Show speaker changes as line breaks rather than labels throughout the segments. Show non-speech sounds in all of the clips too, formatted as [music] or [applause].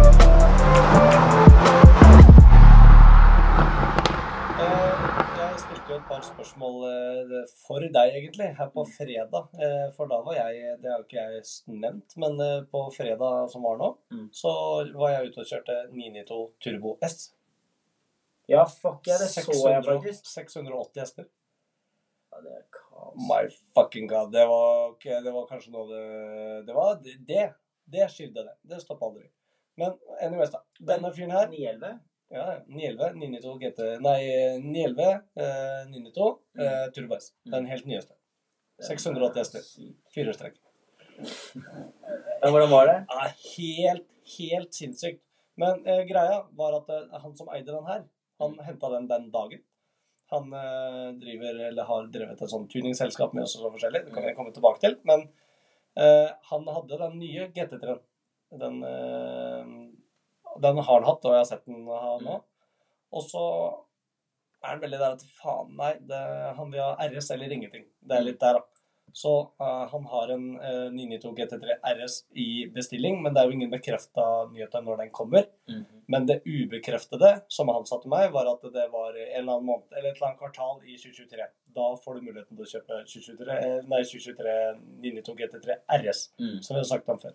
Eh, til eh, deg, egentlig, her
Mm.
på fredag. Eh, For da var jeg Det har jo ikke jeg nevnt, men eh, på fredag som var nå,
Mm.
så var jeg ute og kjørte 992 Turbo S.
Ja, fuck ja, det så jeg faktisk.
680 hester.
Ja, det er kaos.
My fucking god. Det var, ikke- det var kanskje noe av det Det var det. Det skilde det. Det stoppa aldri. Men anyways, da. Denne fyren her
911?
Ja, ja. 911, 992 GT Nei, 911, eh, 992 eh, Turbo S. Den helt nyeste. 680 hester. Firehjulstrekk.
Ja, hvordan var det?
Ja, helt, helt sinnssykt. Men eh, greia var at eh, han som eide den her, han henta den den dagen. Han eh, driver, eller har drevet et sånn tuningsselskap med oss og så forskjellig, det kan vi komme tilbake til. Men eh, han hadde den nye GT3-en. Den, eh, den har han hatt, og jeg har sett den ha nå. Og så er han veldig der at faen, nei, det, han vil ha RS eller ingenting. Det er litt der, da. Så eh, han har en eh, 992 GT3 RS i bestilling, men det er jo ingen bekrefta nyheter når den kommer. Men det ubekreftede som han sa til meg, var at det var en eller annen måned, eller et eller annet kvartal i 2023. Da får du muligheten til å kjøpe 2023, eh, nei, 2023 992 GT3 RS,
Mm.
som vi har snakket om før.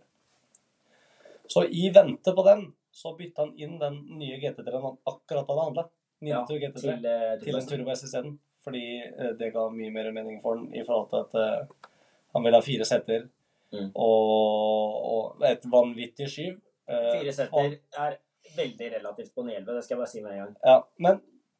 Så i vente på den, så bytta han inn den nye GT3-en han akkurat hadde handla.
Ja,
992 GT3
til, eh,
til en
til
Turbo S isteden. Fordi eh, det ga mye mer mening for den i forhold til at eh, han ville ha fire seter
Mm.
og, og et vanvittig skyv. Eh,
Fire
og-
setter er veldig relativt på 911, det skal jeg bare si med en gang.
Ja, men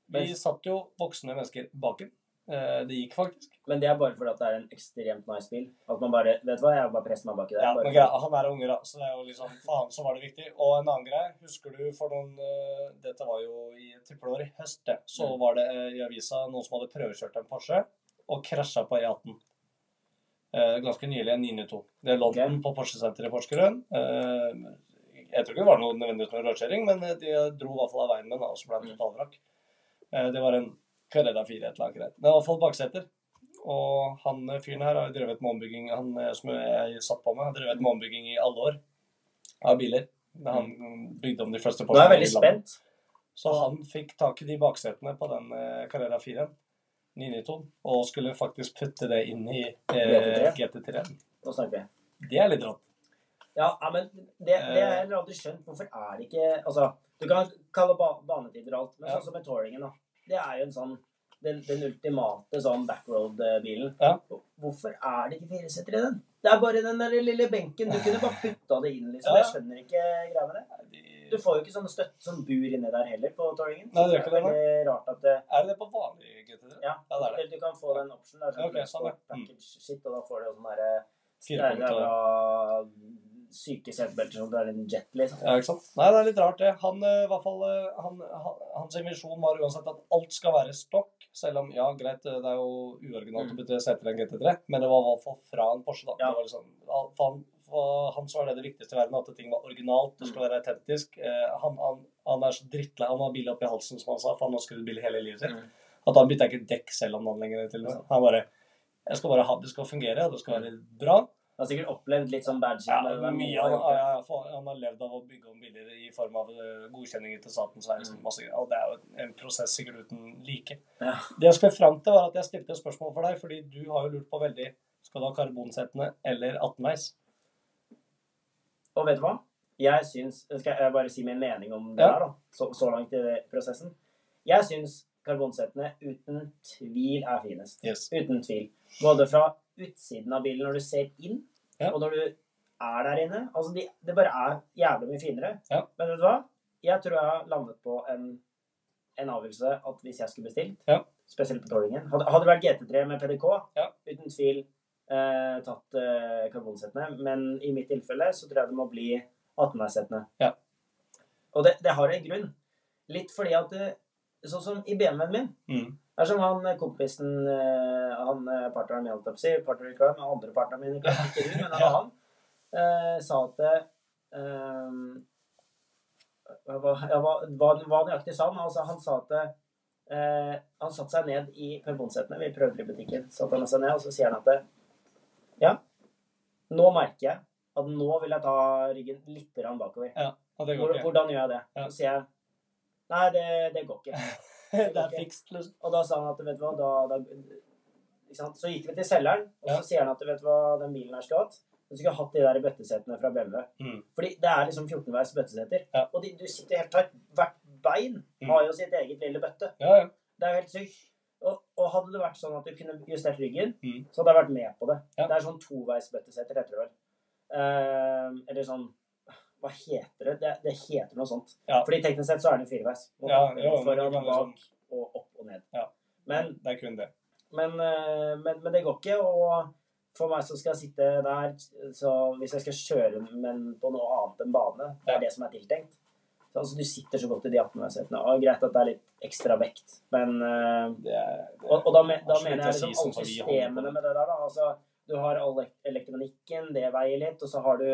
vi
Men-
satt jo voksne mennesker bak den. Eh, det gikk faktisk.
Men det er bare fordi at det er en ekstremt nice bil. At man bare Vet du hva, jeg bare presser meg baki der.
Ja,
bare
men greia, han er unger, da, så det er jo liksom faen så var det viktig. Og en annen greie, husker du for noen eh, Dette var jo i tippeår i høst, det. Så
Mm.
var det eh, i avisa noen som hadde prøvekjørt en Porsche og krasja på E18. Eh, ganske nylig, en 902. Det lå den på Porsche Senter i Porsgrunn. Eh, jeg tror ikke det var noe nødvendigvis med rødkjøring, men eh, de dro i hvert fall av veien med den, da, og så ble den
Mm.
totalvrak. Eh, det var en Carrera 4, et eller annet greit. Men i hvert fall bakseter. Og han eh, fyren her har jo drevet med ombygging Han eh, som jeg satt på med, har drevet med ombygging i alle år av biler. Han bygde om de første
Nå er jeg
Porschene i
veldig
landet.
spent.
Så han fikk tak i de baksetene på den eh, Carrera 4, 992, og skulle faktisk putte det inn i eh, GT3-en.
Nå snakker vi.
Det er litt rått.
Ja, ja, men det, det har
Eh.
jeg heller aldri skjønt. Hvorfor er det ikke Altså, du kan kalle ba banetider og alt, men
Ja.
sånn som med touringen, da. Det er jo en sånn den, den ultimate sånn backroad-bilen.
Ja.
Hvorfor er det ikke fireseter i den? Det er bare den der lille benken. Du kunne bare putta det inn, liksom.
Ja.
Jeg skjønner ikke greia med det.
Nei, de-
Du får jo ikke sånn støtt som bur inni der heller på touringen.
Nei, det gjør ikke det, nei.
veldig rart at det
Er det det på vanlig GT3?
Ja,
Ja, det er det.
eller du kan få den optionen. Der, sånn
Ja, ok, sånn, ja. Mm.
Package shit, og da får du jo sånn derre
Firepunkter.
Jævla syke setebelter som du er en jet, liksom.
Ja, ikke sant? Nei, det er litt rart det. Han, eh, i hvert fall, eh, han, han, hans visjon var uansett at alt skal være stokk, selv om, ja, greit, eh, det er jo uoriginalt å bytte seter i en GT3, men det var i hvert fall fra en Porsche, da.
Mm. Ja.
Det var liksom, al- for han, for han så var det det viktigste i verden, at ting var originalt, det
Mm.
skulle være autentisk. Eh, Han, han, han er så drittlei, han har bil oppi halsen, som han sa, for han har skrudd bil hele livet sitt.
Mm.
At han bytta ikke dekk selv om han lenger til. og med. Han bare, jeg skal bare ha, det skal fungere, og det skal være bra.
Du har sikkert opplevd litt sånn bad shit.
Ja,
men
eh, det
det er
mye
av
han,
det.
ja, ja, for han har levd av å bygge om biler i form av eh, godkjenninger til staten. Så er det, liksom masse, greier. og det er jo en prosess sikkert uten like.
Ja.
Det jeg skulle fram til, var at jeg stilte et spørsmål for deg, fordi du har jo lurt på veldig Skal du ha karbonsettene eller 18-veis?
Og vet du hva? Jeg syns Skal jeg bare si min mening om det
Ja.
her, da? Så, så langt i det- prosessen. Jeg syns karbonsettene uten tvil er finest.
Yes.
Uten tvil. Både fra utsiden av bilen når du ser inn,
Ja.
og når du er der inne. Altså, de, det bare er jævlig mye finere.
Ja.
Men vet du hva? Jeg tror jeg har landet på en, en avgjørelse at hvis jeg skulle bestilt,
Ja.
spesielt på Torgingen Hadde, hadde det vært GT3 med PDK,
Ja.
uten tvil eh, tatt eh, karbonsettene. Men i mitt tilfelle så tror jeg det må bli 18-veisettene.
Ja.
Og det, det har en grunn. Litt fordi at eh, Sånn som i BMW-en min
Mm.
det er som han eh, kompisen eh, Han eh, partneren min, holdt jeg på å si. Partner i crime. Andre partneren min, ikke ikke du,
[laughs]
men det var han. eh, Sa at eh, hva, ja, hva, hva, hva nøyaktig sa han? Altså, han sa at eh, Han satte seg ned i karbonsettene. Vi prøvde i butikken. Satt han seg ned, og så sier han at eh, Ja, nå merker jeg at nå vil jeg ta ryggen litt grann bakover.
Og det
Hvor,
går ikke.
hvordan gjør jeg det?
Ja.
Så sier jeg Nei, det, det går ikke.
[laughs] det er fikst, liksom.
Og da sa han at vet du hva, da, da, Ikke sant? Så gikk vi til selgeren, og så
Ja.
sier han at vet du hva, den bilen her skulle hatt. Du skulle hatt de der bøttesetene fra BMW.
Mm.
Fordi det er liksom 14-veis bøtteseter.
Ja.
Og de, du sitter helt tight. Hvert bein
Mm.
har jo sitt eget lille bøtte.
Ja, ja.
Det er jo helt sykt. Og, og hadde det vært sånn at du kunne justert ryggen,
Mm.
så hadde jeg vært med på det.
Ja.
Det er sånn toveis bøtteseter, heter det vel. Ehm, eller sånn Hva heter det? det? Det heter noe sånt.
Ja.
Fordi teknisk sett så er det fireveis. Og
ja,
da-
jo, men
foran,
det kan
bak
liksom,
og opp og ned.
Ja.
Men
det er kun det.
men, eh, men, men det går ikke. Og for meg som skal sitte der, så hvis jeg skal kjøre men på noe annet enn bane, det
Ja.
er det som er tiltenkt. Så, altså, du sitter så godt i de 18-veisetene. Og greit at det er litt ekstra vekt, men eh,
det, er- det
Og, og da, me, da
Absolutt,
mener jeg
jeg
liksom
sier sånn
alle
som vi holder på
systemene
med.
med det der, da. Altså, du har all elek- elektronikken, det veier litt, og så har du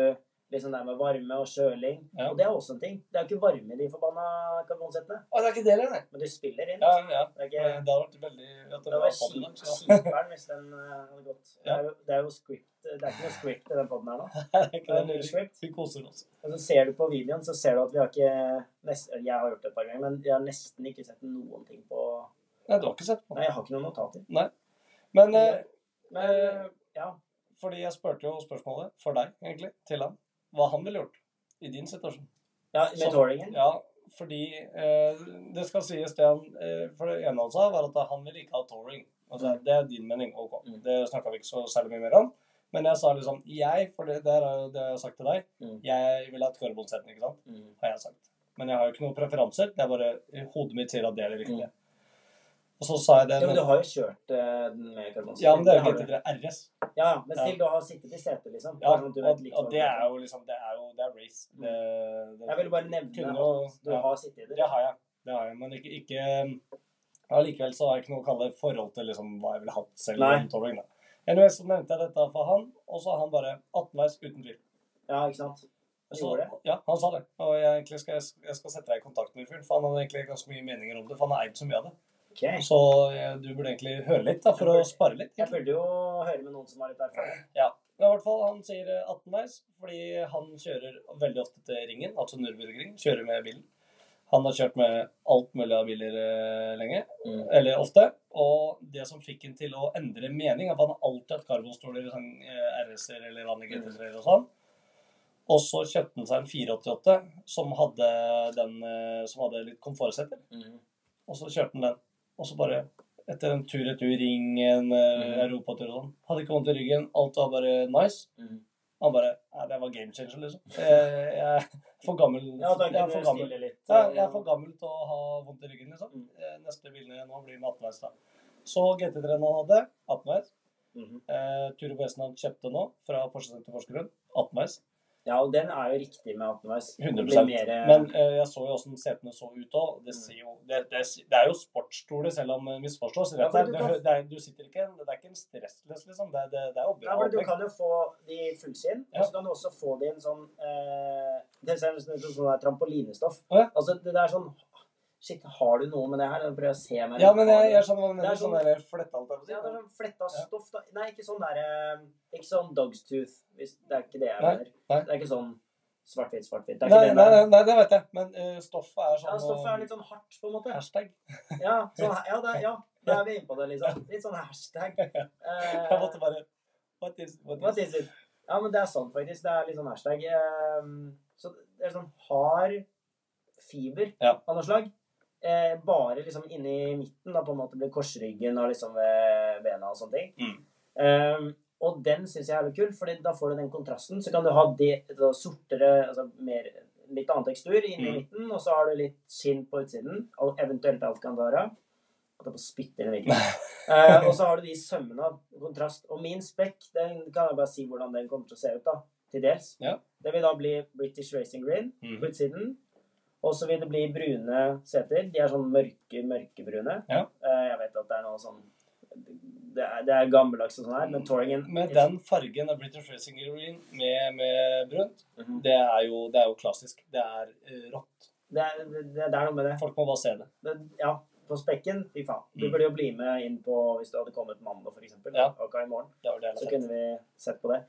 liksom det med varme og kjøling.
Ja.
Og det er også en ting. Det er jo ikke varme i de forbanna karbonsettene,
Å, det er ikke det heller, nei.
men du spiller inn.
Ja, ja.
Det er
Det
ikke...
hadde vært veldig at
Det
[laughs] det
var
var podden,
kjipt
så.
keeperen hvis den eh, hadde gått. Det
Ja.
er jo, det er jo script. Det er ikke noe script i den poden her nå.
Det er
Det
ikke
er
det.
null script.
Vi koser oss.
Og så ser du på videoen, så ser du at vi har ikke nest, eller Jeg har gjort det et par ganger, men jeg har nesten ikke sett noen ting på
Nei, du har ikke sett på.
Nei, jeg har ikke noen notater.
Men eh,
Men eh, ja.
fordi jeg spurte jo spørsmålet for deg, egentlig, til han. Hva han ville gjort i din situasjon.
ja med
Så-
tålingen.
Ja, fordi eh, det skal sies det han eh, For det ene han sa, var at han ville ikke ha touring. Altså, det er din mening. Ok.
Mm.
Det snakka vi ikke så særlig mye mer om. Men jeg sa liksom Jeg, for det, det er jo det jeg har sagt til deg,
Mm.
jeg vil ha et karbonsetning, ikke sant?
Mm.
har jeg sagt. Men jeg har jo ikke noen preferanser. Det er bare hodet mitt sier at det er det riktige. Og så sa jeg det
Jo, Mm. men du har jo kjørt eh, den med karbonsyre.
Ja, men det er jo
har
litt
du.
etter RS.
Ja, men
Ja.
still, du har sittet i setet, liksom.
Ja,
Bare sånn at
og,
du vet litt
og
hva
det
du-
er jo liksom Det er jo det er race. Det, det,
Jeg ville bare nevne
kunne
at
jo-
du
ja.
har sittet i det.
Det har jeg. Det har jeg. Men ikke, ikke Allikevel så har jeg ikke noe å kalle forhold til liksom, hva jeg ville hatt selv.
Nei.
om touring, da. Anyways, så nevnte jeg dette for han, og så har han bare 18-veis uten tvil.
Ja, ikke sant?
Så-
Gjorde det?
Ja, han sa det. Og jeg, egentlig skal, jeg, jeg skal sette deg i kontakt med fyren, for han hadde egentlig ganske mye meninger om det. For han har eid så mye av det.
Ok.
Så eh, du burde egentlig høre litt, da, for å spare litt.
Jeg burde jo høre med noen som har litt erfaring.
Ja. Men i hvert fall, han sier eh, 18-veis, fordi han kjører veldig ofte til ringen, altså Nürburgring, kjører med bilen. Han har kjørt med alt mulig av biler eh, lenge,
Mm.
eller ofte, og det som fikk han til å endre mening, er at han har alltid hatt karbonstoler i sånn eh, RS-er eller Rani GT-er og sånn. Og så kjøpte han seg en 488 som hadde, den, eh, som hadde litt komfortsetter. Og så kjørte han den. Og så bare etter en tur-retur ringen, mm.
Mhm.
europatur og sånn. Hadde ikke vondt i ryggen. Alt var bare nice. Han bare Nei, det var game changer, liksom. Jeg, jeg er for gammel.
Ja, da
jeg, er
kunne
for
du
gammel.
stille litt.
Ja, jeg er for gammel til å ha vondt i ryggen, liksom.
Mm.
Eh, Neste bilene nå blir med 18-veis, da. Så GT3-en han hadde, 18-veis.
Mhm.
Eh, Turbo S-en han kjøpte nå, fra Porsgrunn til Porsgrunn, 18-veis.
Ja, og den er jo riktig med 18-veis.
100 Men eh, jeg så jo åssen setene så ut òg. Det,
Mm.
ser jo- det, det, det er jo sportsstoler, selv om eh, misforstås.
Ja,
Det,
for
er-
du
det,
kan-
hø- det, er- du sitter ikke en- Det er ikke en stressless, liksom. Det, er- det, det er jo
ja,
bra.
for du
opplegg.
kan jo få de fullsyn, og
Ja.
så kan du også få de en sånn eh, Det ser nesten ut som sånn der trampolinestoff.
Å, ja.
Altså, det der er sånn Shit, har du noe med det her? Jeg prøver å se meg
Ja, men jeg, jeg skjønner hva du
Det er
mener. Sånn
sånn-
der fletta alt
Ja, det er
der.
sånn fletta
Ja.
stoff da. Nei, ikke sånn derre Ikke sånn dogstooth. Hvis, det er ikke det jeg
Nei,
mener.
nei.
Det er ikke sånn svart-hvitt, svart-hvitt. Det er
Nei,
ikke det
nei,
der.
nei, nei, det vet jeg. Men eh, stoffet er sånn
Ja, stoffet
eh,
er litt sånn hardt, på en måte.
hashtag.
Ja, sånn, ja, det, ja, da er vi inne på det, liksom. Litt sånn
[laughs]
hashtag. Eh,
Jeg måtte bare What is, what
hva
is.
sier du? Ja, men det er sant, faktisk. Det er litt sånn hashtag. Eh, så det er sånn hard fiber
Ja.
av noe slag. Eh, bare liksom inni midten, da på en måte blir korsryggen og liksom ved bena og sånne ting.
Mm.
Eh, og den syns jeg er litt kul, Fordi da får du den kontrasten. Så kan du ha det, da sortere, altså mer, litt annen tekstur inni
Mm.
midten, og så har du litt skinn på utsiden, og eventuelt alcantara. At jeg bare spytter inn i midten.
[laughs]
Eh, og så har du de sømmene av kontrast. Og min spekk, den kan jeg bare si hvordan den kommer til å se ut, da. Til dels.
Ja.
Det vil da bli British Racing Green på
Mm.
utsiden. Og så vil det bli brune seter. De er sånn mørke, mørkebrune.
Ja.
Eh, Jeg vet at det er noe sånn Det er, det er gammeldags og sånn her, men touringen
Med den fargen av British Racing Green med, med brunt,
Mhm.
det er, jo, det er jo klassisk. Det er eh, rått.
det, er, det, det er noe med det.
Folk må bare se det.
det. Ja, på spekken, fy faen. Du
Mm.
burde jo bli med inn på hvis du hadde kommet mandag, f.eks.
Ja.
Og hva i morgen?
Det var det jeg
Så
la til.
kunne vi sett på det.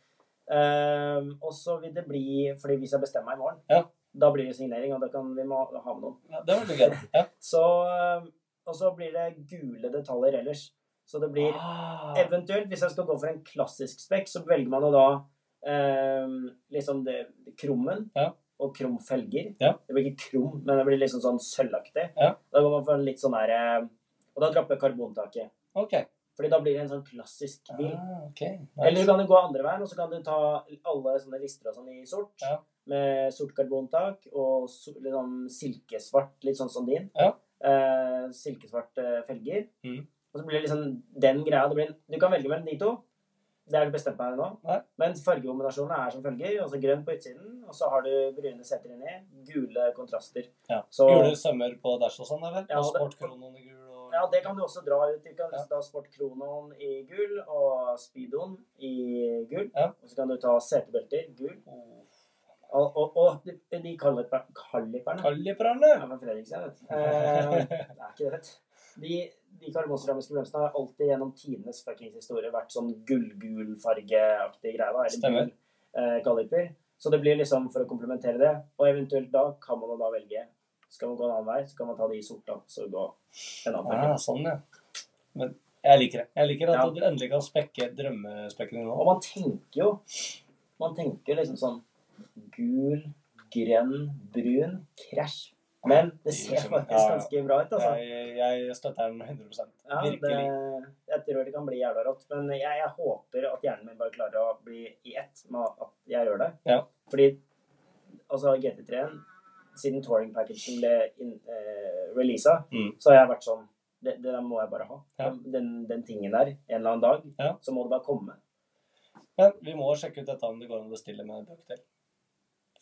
Ehm, og så vil det bli Fordi vi skal bestemme i morgen.
Ja.
Da blir det signering, og da kan vi må ha med noen.
Ja, det var litt gøy. Ja.
Så, ehm, og så blir det gule detaljer ellers. Så det blir
Ah.
Eventuelt, hvis jeg skal gå for en klassisk spekk, så velger man jo da eh, liksom det, krummen
Ja.
og krum felger.
Ja.
Det blir ikke krum, men det blir liksom sånn sølvaktig.
Ja.
Da går man for en litt sånn der eh, Og da dropper karbontaket.
Ok.
Fordi da blir det en sånn klassisk bil.
Ah, ok. Nice.
Eller så kan du gå andre veien, og så kan du ta alle sånne lister og sånn i sort.
Ja.
Med sort karbontak og so litt sånn silkesvart, litt sånn som din.
Ja.
Eh, silkesvart eh, felger.
Mhm.
Og så blir det liksom den greia. Det blir, du kan velge mellom de to. Det har jeg ikke bestemt meg nå.
Nei.
Men fargekombinasjonene er som følger. Altså grønn på utsiden, og så har du brune seter inni. Gule kontraster.
Ja.
Så-
Gule sømmer på dash og sånn, er vel?
Ja,
og
det-
sportkronen i gul og
Ja, det kan du også dra ut. Du kan
Ja.
ta sportkronoen i gull og speedoen i gull.
Ja.
Og så kan du ta setebelter, gull.
Oh.
Og, og, og de, de kalliper- kalliperne Jeg
Kalibrene!
er fra Fredrikstad, vet du. Eh, det er ikke det, vet du. De, de karbonceramiske bremsene har alltid gjennom tidenes fuckings historie vært sånn gullgulfargeaktig greie. da, Eller
Stemmer.
gul eh, galliper. Så det blir liksom for å komplementere det. Og eventuelt da kan man jo da velge Skal man gå en annen vei, så kan man ta de i sort, da. Så gå en annen farge.
Ah, sånn, ja. Men jeg liker det. Jeg liker at
Ja.
du endelig kan spekke drømmespekken din nå.
Og man tenker jo Man tenker liksom sånn gul, grønn, brun, krasj. Men det ser faktisk ganske bra ut, altså.
Jeg, jeg støtter den 100
Ja, det,
Virkelig.
eh, jeg tror det kan bli jævla rått. Men jeg, jeg håper at hjernen min bare klarer å bli i ett med at jeg gjør det.
Ja.
Fordi altså GT3-en, siden touring packagen ble in, eh, releasa,
Mm.
så har jeg vært sånn det, det der må jeg bare ha.
Ja.
Den, den tingen der, en eller annen dag,
Ja.
så må det bare komme.
Men vi må sjekke ut dette om det går an å bestille med ducktail.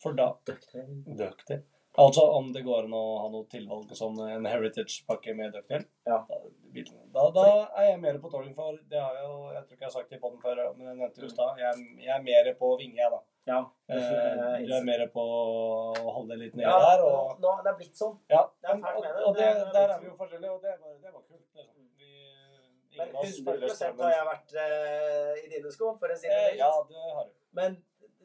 For da Ducktail? Altså om det går an å ha noe tilvalg som en heritage-pakke med ducktail?
Ja.
Da, da, da er jeg mer på tolling for det har jeg jo Jeg tror ikke jeg har sagt det på den før, men jeg nevnte det i stad. Jeg, er- jeg er mer på vinge,
[laughs]
jeg, da.
Ja.
Eh,
Eh,
[laughs] du er mer på å holde litt nede
ja,
der og
nå, nå, det er blitt sånn.
Ja,
Det er ferdig
og,
med det.
og det,
Det er-
der er vi jo forskjellige, og det var, det var kult. Liksom. Vi,
Men
ingen av oss
100
følger
har
strømmen.
jeg vært eh, i dine sko, for å si det
Eh,
litt.
Ja, det har du.
Men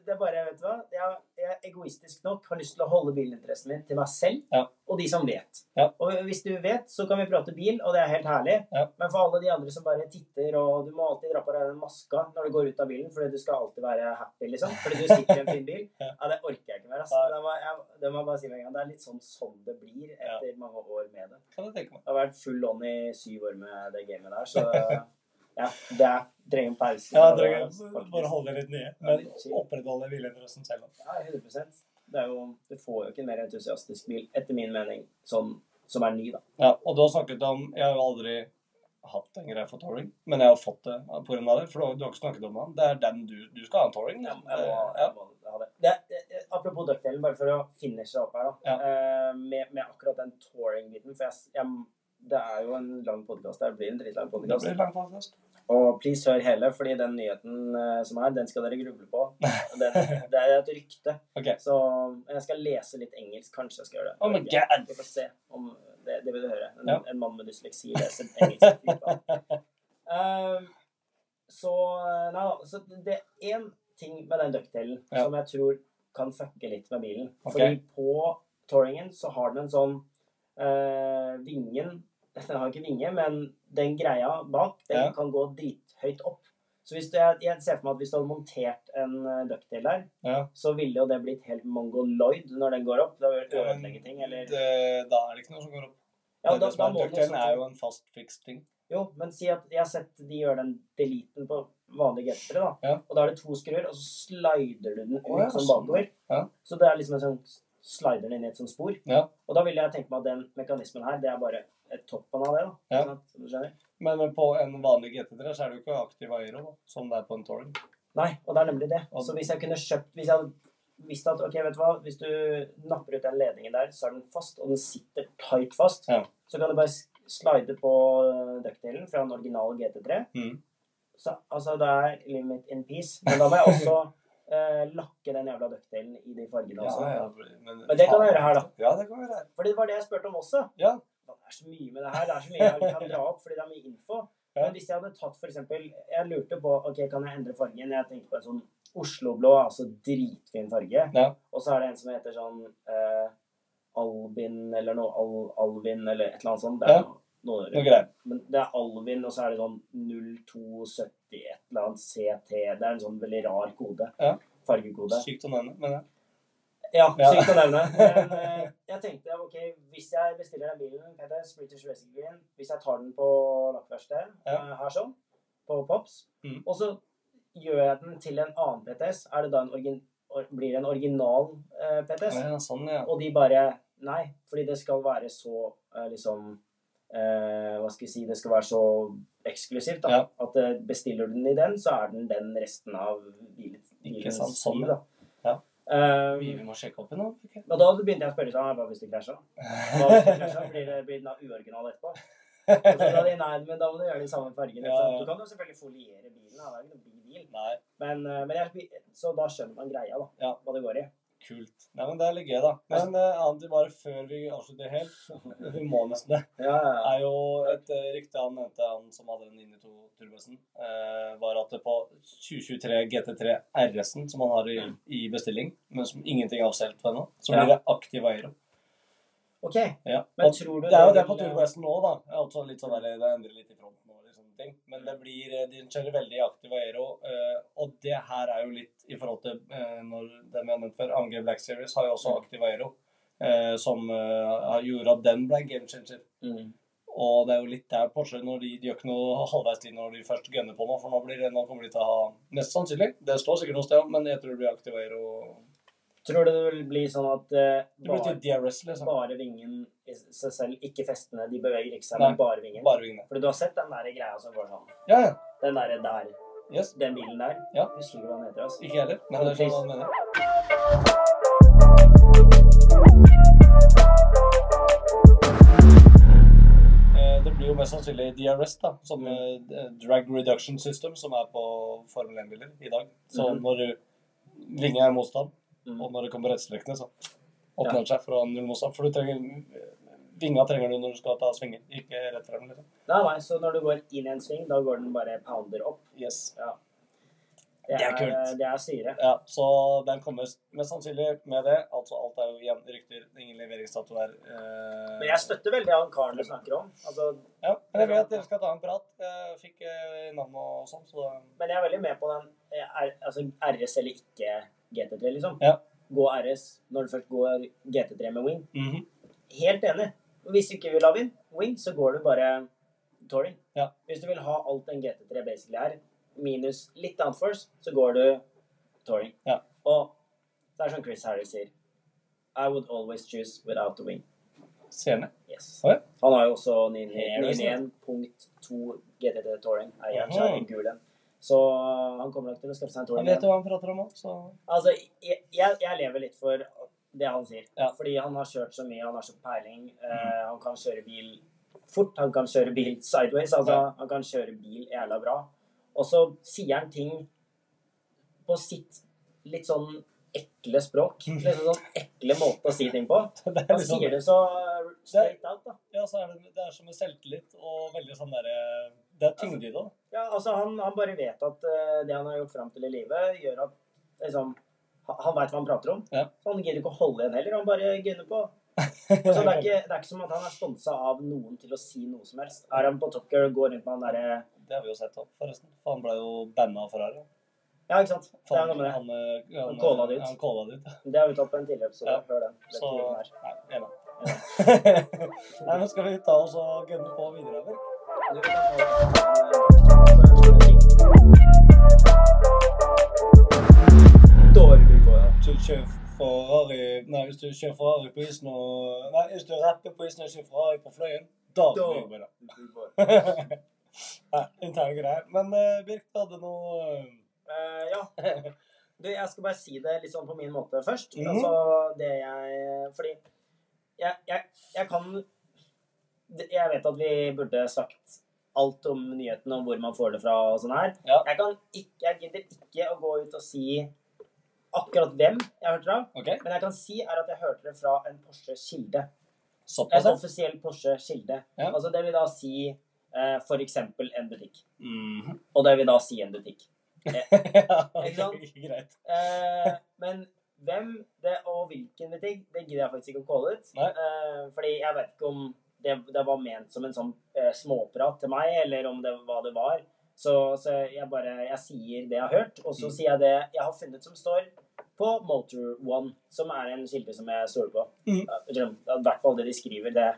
det er bare, vet du hva? Jeg, jeg er egoistisk nok har lyst til å holde bilinteressen min til meg selv
Ja.
og de som vet.
Ja.
Og hvis du vet, så kan vi prate bil, og det er helt herlig.
Ja.
Men for alle de andre som bare titter, og du må alltid dra på deg den maska når du går ut av bilen, fordi du skal alltid være happy, liksom. Fordi du sitter i en fin bil.
[laughs] Ja.
Ja, det orker jeg ikke mer. ass.
Nei.
Det må jeg, det må jeg bare si med en gang. Det er litt sånn sånn det blir etter mange år med det.
Kan jeg tenke meg.
Jeg har vært full on i syv år med det gamet der,
[laughs]
så ja, det er, trenger en pause.
Ja,
fra det,
dere
ass,
kan
faktisk.
bare holde litt nye,
Ja,
men
litt chill.
opprettholde hvileinteressen selv. da.
Ja, 100 det er jo, Du får jo ikke en mer entusiastisk bil, etter min mening, sånn, som er ny, da.
Ja, og du har snakket om Jeg har jo aldri hatt en greie for touring, men jeg har fått det pga. det. For du har- du har ikke snakket om den. Det er den du, du skal ha en touring.
Jeg
liksom.
må, jeg må,
Ja.
jeg må ha det. Det, eh, apropos duckdelen, bare for å finishe opp her, da.
Ja.
Eh, med, med akkurat den touring-biten. For jeg, s- jeg, det er jo en lang podkast. Det blir en dritlang
Det
podkast.
blir lang podcast.
Og please hør hele, fordi den nyheten eh, som er, den skal dere gruble
[laughs]
på. Den, det er et rykte.
Ok.
Så jeg skal lese litt engelsk. Kanskje jeg skal gjøre det.
Oh my God.
Vi får se om det, det vil du høre. En,
Ja.
en mann med dysleksi leser engelsk. Fy faen.
[laughs]
Ehm, så Nei da. Så det er én ting med den ducktailen
Ja.
som jeg tror kan fucke litt med bilen.
Ok.
Fordi på touringen så har den en sånn eh, Vingen [laughs] Den har ikke vinge, men den greia bak, den
Ja.
kan gå drithøyt opp. Så hvis du, jeg, jeg ser for meg at hvis du hadde montert en eh, ducktail der,
Ja.
så ville jo det blitt helt mongoloid når den går opp. Det vil
Ja, men
ødelegge ting, eller
Det, da er det ikke noe som går opp.
Ja,
det er
da,
det som
da
er
må den
ducktailen
også-
er jo en fast, fiks ting.
Jo, men si at jeg har sett de gjør den deleten på vanlige gensere, da.
Ja.
Og da er det to skruer, og så slider du den ut
Å, ja,
sånn
sånn,
bakover.
ja.
Så det er liksom en sånn slider den inn i et sånt spor.
Ja.
Og da ville jeg tenke meg at den mekanismen her, det er bare et toppen av det, da.
Ja.
Ikke sant? Som du skjønner?
Men på en vanlig GT3 så er det jo ikke aktiv aero, da, som det er på en touring.
Nei, og det er nemlig det.
Og-
Så hvis jeg kunne kjøpt Hvis jeg hadde visst at ok, vet du hva, hvis du napper ut den ledningen der, så er den fast, og den sitter tight fast,
Ja.
så kan du bare s- slide på øh, ducktailen fra den originale GT3.
Mm.
Så, altså, det er limit in peace. Men da må jeg også eh, lakke den jævla duckdelen i de fargene også.
Altså, Men,
Men det kan vi gjøre her, da.
Ja, det kan vi gjøre her.
Fordi det var det jeg spurte om også.
Ja.
Det er så mye med det her. Det er så mye jeg kan dra opp fordi det er mye info.
Ja.
Men hvis jeg hadde tatt for eksempel Jeg lurte på ok, kan jeg endre fargen. Jeg tenkte på en sånn Oslo-blå, altså dritfin farge.
Ja.
Og så er det en som heter sånn eh, Albin eller noe. Al Alvin eller et eller annet sånt. Det er
Ja.
noe noen øre.
Noe greier.
Men det er Alvin, og så er det sånn 0270 et eller annet CT. Det er en sånn veldig rar kode.
Ja.
Fargekode.
Sykt å nevne, men ja.
Ja,
Ja.
sykt å nevne. [laughs] Men eh, jeg tenkte ok, hvis jeg bestiller den bilen, Peters, British Racing Green, hvis jeg tar den på lakkverkstedet
Ja.
eh, her sånn, på Pops,
Mm.
og så gjør jeg den til en annen PTS, er det da en origin, or, blir det en original eh, PTS?
ja sånn, ja.
Og de bare Nei, fordi det skal være så eh, liksom eh, Hva skal jeg si Det skal være så eksklusivt, da.
Ja.
At eh, bestiller du den i den, så er den den resten av bil,
Ikke
bilens
sant, sånn,
liv,
ja.
da. Eh,
Vi vi må sjekke opp i noe. ok?
og da begynte jeg å spørre sånn, hva hvis det krasja? [laughs] Hva hvis det krasja? Blir, det- blir den da uoriginal etterpå? Og så sa de, nei, men da må du gjøre de samme fargene.
Ja, ja.
Så Du kan jo selvfølgelig foliere bilen, da. det er jo ikke noen big deal.
Nei,
Men, eh, men jeg, så da skjønner man greia, da.
Ja.
Hva det går i.
kult. Nei, men det er litt gøy, da. Men eh, annet bare før vi avslutter helt, [laughs] vi må nesten det,
Ja, ja, ja.
er jo et eh, rykte han nevnte, han som hadde den inni to turbosen, eh, var at det på 2023 GT3 RS-en som han har i, i bestilling, men som ingenting er avsolgt ennå, så
Ja.
blir det aktiv eier.
OK.
Ja.
Men
Og
tror du
Det er jo det på
vil- eh,
Turbo-S-en nå, da. Det er også litt sånn der, det endrer litt i fronten og litt sånne ting. Men det blir, eh, de kjører veldig aktiv aero. eh, Og det her er jo litt i forhold til eh, når dem jeg har nevnt før, AMG Black Series har jo også aktiv aero, eh, som eh, gjorde at den ble game changer.
Mm.
Og det er jo litt der Porsche når de, de gjør ikke noe halvveis til når de først gunner på nå, for nå, blir det, nå kommer de til å ha Mest sannsynlig. Det står sikkert noe sted, men jeg tror det blir aktiv aero.
Tror du det vil bli sånn at eh,
Det blir
bare,
til DRS, liksom.
bare vingen i seg selv, ikke festene, de beveger ikke seg,
Nei.
men bare vingen?
Bare vingene.
Fordi du har sett den der greia som går sånn.
Ja, ja.
Den derre der.
Yes.
Den bilen der.
Ja.
Husker ikke hva den heter, altså.
Ikke jeg heller, men det er sånn han mener. Eh, Det blir jo mest sannsynlig DRS, da, som eh, drag reduction system, som er på Formel 1-biler i dag. Så
Mhm.
når vinga er motstand,
Mm.
og når det kommer rettstrekkende, så åpner det seg for å ha null motstand. For du trenger eh, Vinga trenger du når du skal ta svinger, ikke rett frem. Liksom.
Nei, nei, så når du går inn i en sving, da går den bare pounder opp.
Yes.
Det
Det er
er,
kult.
Det er syre.
Ja, så den kommer mest sannsynlig med det. Altså alt er jo igjen rykter, ingen leveringsdato der. eh,
Men jeg støtter veldig han karen du snakker om. Altså,
Ja, men jeg vet at dere skal ta en prat. Jeg fikk eh, navn og sånn, så
men jeg er veldig med på den eh, R, altså RS eller ikke GT3, liksom.
Ja.
Gå RS når du først går GT3 med wing.
Mhm.
Helt enig. Hvis du ikke vil ha win, win så går du bare touring.
Ja.
Hvis du vil ha alt en GT3 basically er, minus litt downforce, så går du touring.
Ja.
Og det er som Chris Harris sier. I would always choose without the wing.
Ser ned.
Yes.
Oi.
Han har jo også
Helt sant.
91.2 GT3 touring. Eieren
Aha.
er en gul en. Så øh, han kommer nok til å skaffe seg
Han
en touring.
vet jo hva han prater om òg, så [laughs]
Altså, jeg, jeg, jeg lever litt for det han sier.
Ja. Mhm.
Fordi han har kjørt så mye, han har så peiling. Eh, han kan kjøre bil fort, han kan kjøre bil sideways. Altså,
Ja.
han kan kjøre bil jævla bra. Og så sier han ting på sitt litt sånn ekle språk. Litt sånn ekle måte å si ting på.
Mhm. det er
Han
liksom
sier det så straight out, da.
Ja, så er det, det er som med selvtillit og veldig sånn derre Det er tyngde i det. da.
Ja, altså, han, han bare vet at eh, det han har gjort fram til i livet, gjør at liksom han- Han veit hva han prater om.
Ja.
Så han gidder ikke å holde igjen heller. Han bare gunner på. Så det er, ikke, det er ikke som at han er sponsa av noen til å si noe som helst. Er han på Tucker og går rundt med han derre
[laughs] Det har vi jo sett òg, forresten. For han ble jo banna av Ferrari.
Ja, ikke sant? Det er noe
Han,
med det.
han, eh, han,
Han calla det ut.
han calla det ut. ja.
Det har vi tatt på en tidligere episode.
Ja.
Hør den. Vet
Så
ikke hvem det er.
Nei, enig. [laughs] Nei, men skal vi ta oss og gunne på videre, eller?
Du kan ta- Dårlig på, ja.
Hvis du kjører Ferrari Nei, hvis du kjører Ferrari på isen og Nei, hvis du rapper på isen og kjører Ferrari på fløyen, da
Da.
blir det bra. [laughs] Nei, interne greier. Men eh, Birk, du hadde noe
Eh, ja. Du, jeg skal bare si det litt sånn på min måte først.
Mhm.
Altså det jeg Fordi jeg, jeg, jeg kan Jeg vet at vi burde sagt alt om nyhetene, om hvor man får det fra og sånn her.
Ja.
Jeg, kan ikke, jeg gidder ikke å gå ut og si akkurat hvem jeg hørte det av.
OK?
Men jeg kan si er at jeg hørte det fra en Porsche-kilde.
Såpass,
En
ja.
offisiell Porsche-kilde.
Ja.
Altså det vil da si eh, for eksempel en butikk.
[laughs] Mhm.
Og det vil da si en butikk.
Ikke
sant?
Greit.
Eh, men hvem det og hvilken butikk, det gidder jeg faktisk ikke å calle ut.
Nei.
Eh, fordi jeg vet ikke om det, det var ment som en sånn eh, småprat til meg, eller om det hva det var. Så, så jeg bare jeg sier det jeg har hørt, og så
Mm.
sier jeg det jeg har funnet som står på Motor One, som er en kilde som jeg stoler på.
Mm.
Ja, I hvert fall det de skriver. Det,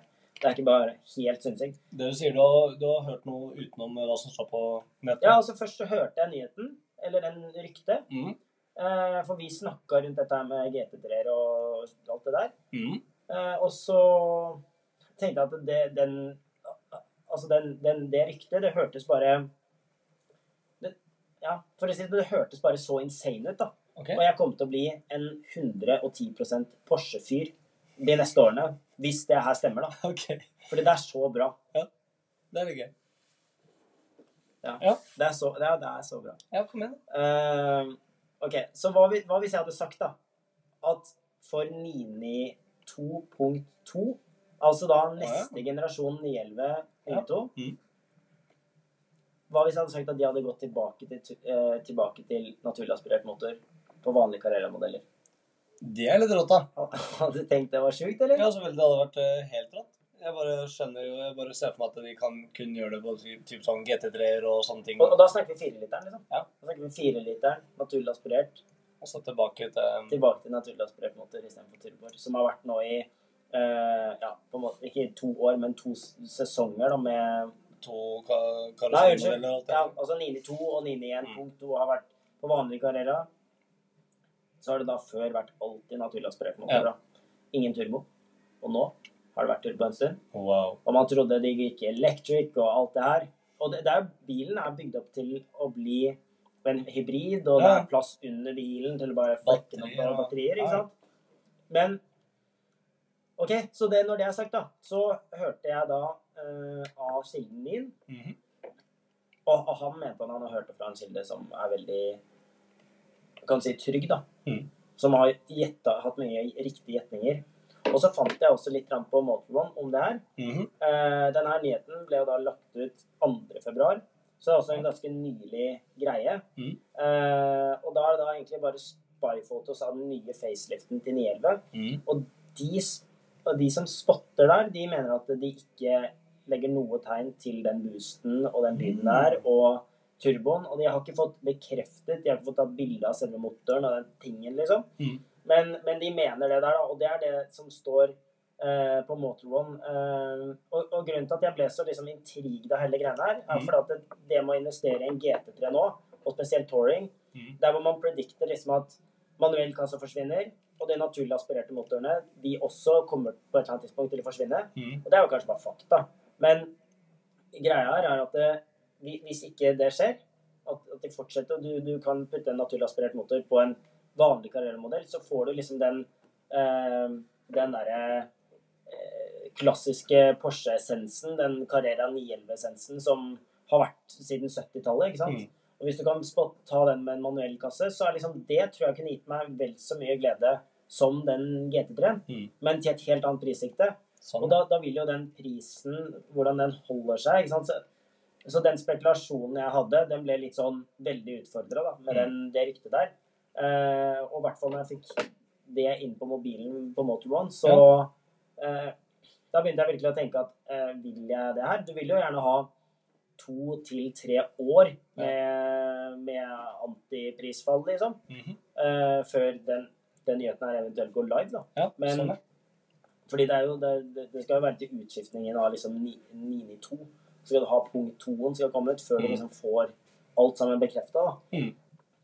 det er ikke bare helt sinnssykt.
Det du sier, du har, du har hørt noe utenom hva som står på nettet?
Ja, altså Først så hørte jeg nyheten, eller den ryktet.
Mm.
Eh, for vi snakka rundt dette her med GT3-er og alt det der.
Mm.
Eh, og så tenkte jeg at det, den, altså den, den, det ryktet, det hørtes bare det, Ja, for å si det, det hørtes bare så insane ut, da.
Ok. [laughs]
Og jeg kommer til å bli en 110 Porsche-fyr de neste årene. Hvis det her stemmer, da.
ok.
Fordi det er så bra.
Det er litt gøy.
Det er så, det er, det er så bra.
Ja, kom igjen.
Eh, ok, så hva, vi- hva hvis jeg hadde sagt, da? At for 992.2, altså da neste generasjon 911 V2
Ja. Mm.
Hva hvis jeg hadde sagt at de hadde gått tilbake til, tu- eh, tilbake til naturaspirert motor på vanlige Carrera-modeller? [laughs]
Det er litt rått, da.
Hadde du tenkt det var sjukt, eller?
Ja, selvfølgelig. Det hadde vært eh, helt rått. Jeg bare skjønner jo, jeg bare ser for meg at de kan kun gjøre det på ty- typ sånn GT3-er og sånne ting.
Og, og
Og
da snakker vi fireliteren, liksom.
Ja.
Da snakker vi fireliteren, naturaspirert,
så tilbake til um,
tilbake til naturaspirert motor istedenfor turboer. Som har vært nå i eh, ja, på en måte, ikke to år, men to s- sesonger da, med
to ka
Nei, unnskyld.
karosserimodeller og alt det
Ja,
der.
altså 992 og
Mm.
991 punkt 2 har vært på vanlige Carrera. Så har det da før vært alltid naturaspirert
Ja.
motor. da. Ingen turbo. Og nå har det vært turbo en stund.
Wow.
Og man trodde det gikk electric og alt det her. Og det, det er, bilen er bygd opp til å bli en hybrid, og det
Ja.
er plass under bilen til å bare flekke noen
Batterier, ja.
batterier,
Ja.
ikke sant? Men OK, så det, når det er sagt, da, så hørte jeg da eh, av kilden din
Mhm.
og, og han mente at han har hørt det fra en kilde som er veldig jeg kan si trygg, da.
Mm.
Som har gjetta, hatt mye riktige gjetninger. Og så fant jeg også litt grann på Motorone om det her.
Mhm.
Eh, denne nyheten ble jo da lagt ut 2. februar, så det er også en ganske nylig greie.
Mhm.
Eh, og da er det da egentlig bare spyfotos av den nye faceliften til 911.
Mhm.
De, s- og de som spotter der, de mener at de ikke legger noe tegn til den boosten og den lyden der, og turboen. Og de har ikke fått bekreftet, de har ikke fått tatt bilde av selve motoren og den tingen, liksom.
Mhm.
Men, men de mener det der, da. Og det er det som står eh, på Motor One. Eh, og, og grunnen til at jeg ble så liksom, intrigued av hele greiene her, er
Mhm.
fordi at det, det med å investere i en GT3 nå, og spesielt touring,
Mhm.
der hvor man predikter liksom at manuellkassa forsvinner, og de naturlig aspirerte motorene de også kommer på et eller annet tidspunkt til å forsvinne.
Mhm.
Og det er jo kanskje bare fakta. Men greia her er at det, vi- hvis ikke det skjer, at, at det fortsetter, og du, du kan putte en naturlig aspirert motor på en vanlig karrieremodell, så får du liksom den, eh, den derre eh, klassiske Porsche-essensen, den Carrera 911-essensen som har vært siden 70-tallet, ikke sant?
Mhm.
Og hvis du kan spot, ta den med en manuell kasse, så er liksom det tror jeg kunne gitt meg vel så mye glede som den GT3-en,
Mhm.
men til et helt annet prissikte.
Sånn.
Og da, da vil jo den prisen, hvordan den holder seg ikke sant? Så, så den spekulasjonen jeg hadde, den ble litt sånn veldig utfordra med
Mm.
den, det ryktet der. Eh, og i hvert fall når jeg fikk det inn på mobilen på Motor One, så eh, Da begynte jeg virkelig å tenke at eh, vil jeg det her? Du vil jo gjerne ha to til tre år med, med antiprisfall, liksom,
Mhm.
eh, før den, den nyheten her eventuelt går live. da.
Ja,
Men-
sånn, ja.
Fordi det, er jo, det, det- det skal jo være til utskiftningen av liksom 992. Så skal du ha punkt 2 skal komme ut før du
Mm.
liksom får alt sammen bekrefta.
Mm.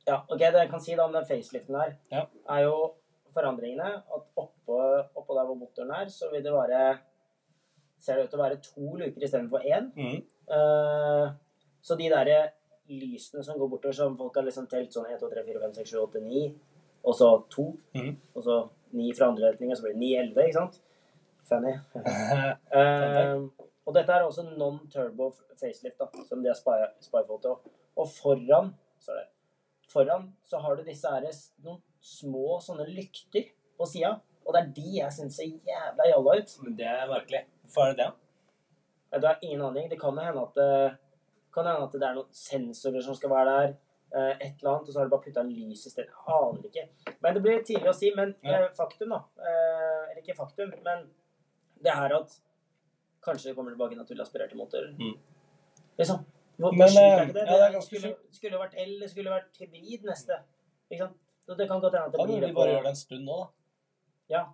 Ja, ok, det jeg kan si da om den faceliften her,
Ja.
er jo forandringene. At oppå, oppå der hvor motoren er, så vil det være Ser det ut til å være to luker istedenfor én.
Mhm.
Eh, så de derre lysene som går bortover, som folk har liksom telt sånn 1, 2, 3, 4, 5, 6, 7, 8, 9, og så 2,
Mhm.
og så 9 fra andre retning, og så blir det 9, 11, ikke sant? Fanny. Eh, og dette er også non-turbo facelift, da, som de har spy- spyfoto. Og foran, så er det, foran så har du disse her, s- noen små sånne lykter på sida, og det er de jeg syns ser jævla jalla ut.
Men det er merkelig. Hvorfor er det det?
Ja, Det er ingen aning. Det kan jo hende at det, kan hende at det er noen sensorer som skal være der. eh, Et eller annet, og så har de bare putta en lys i stedet. Jeg aner ikke. Men det blir tidlig å si. Men
Ja.
eh, faktum, da. Eh, Eller ikke faktum, men det her at Kanskje det kommer tilbake en naturaspirerte motorer.
Mm.
Liksom. Hvor,
Men,
hvor sjukt er ikke det?
eh, ja, det er
det
ganske
skulle, skulle vært el, det skulle vært hybrid neste. Ikke sant? Så det kan godt hende at
Da
det
burde
blir
de
det
bare gjøre
på
det en stund nå, da.
Ja.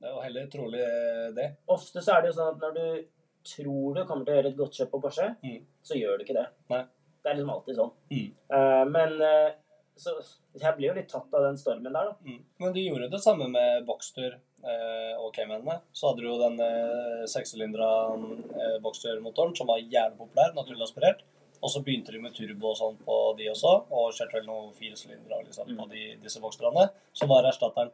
Det er jo heller trolig eh, det.
Ofte så er det jo sånn at når du tror du kommer til å gjøre et godt kjøp på Porsche,
Mm.
så gjør du ikke det.
Nei.
Det er liksom alltid sånn.
Mm.
Eh, men eh, så jeg blir jo litt tatt av den stormen der, da.
Mm. Men de gjorde det samme med Boxster eh, og Caymanene. Så hadde du jo den eh, sekssylindra eh, Boxster-motoren som var jævlig populær, naturlig aspirert. Og så begynte de med turbo og sånn på de også, og kjørte vel noen firesylindere liksom, på de, disse Boxsterne, som var erstatteren.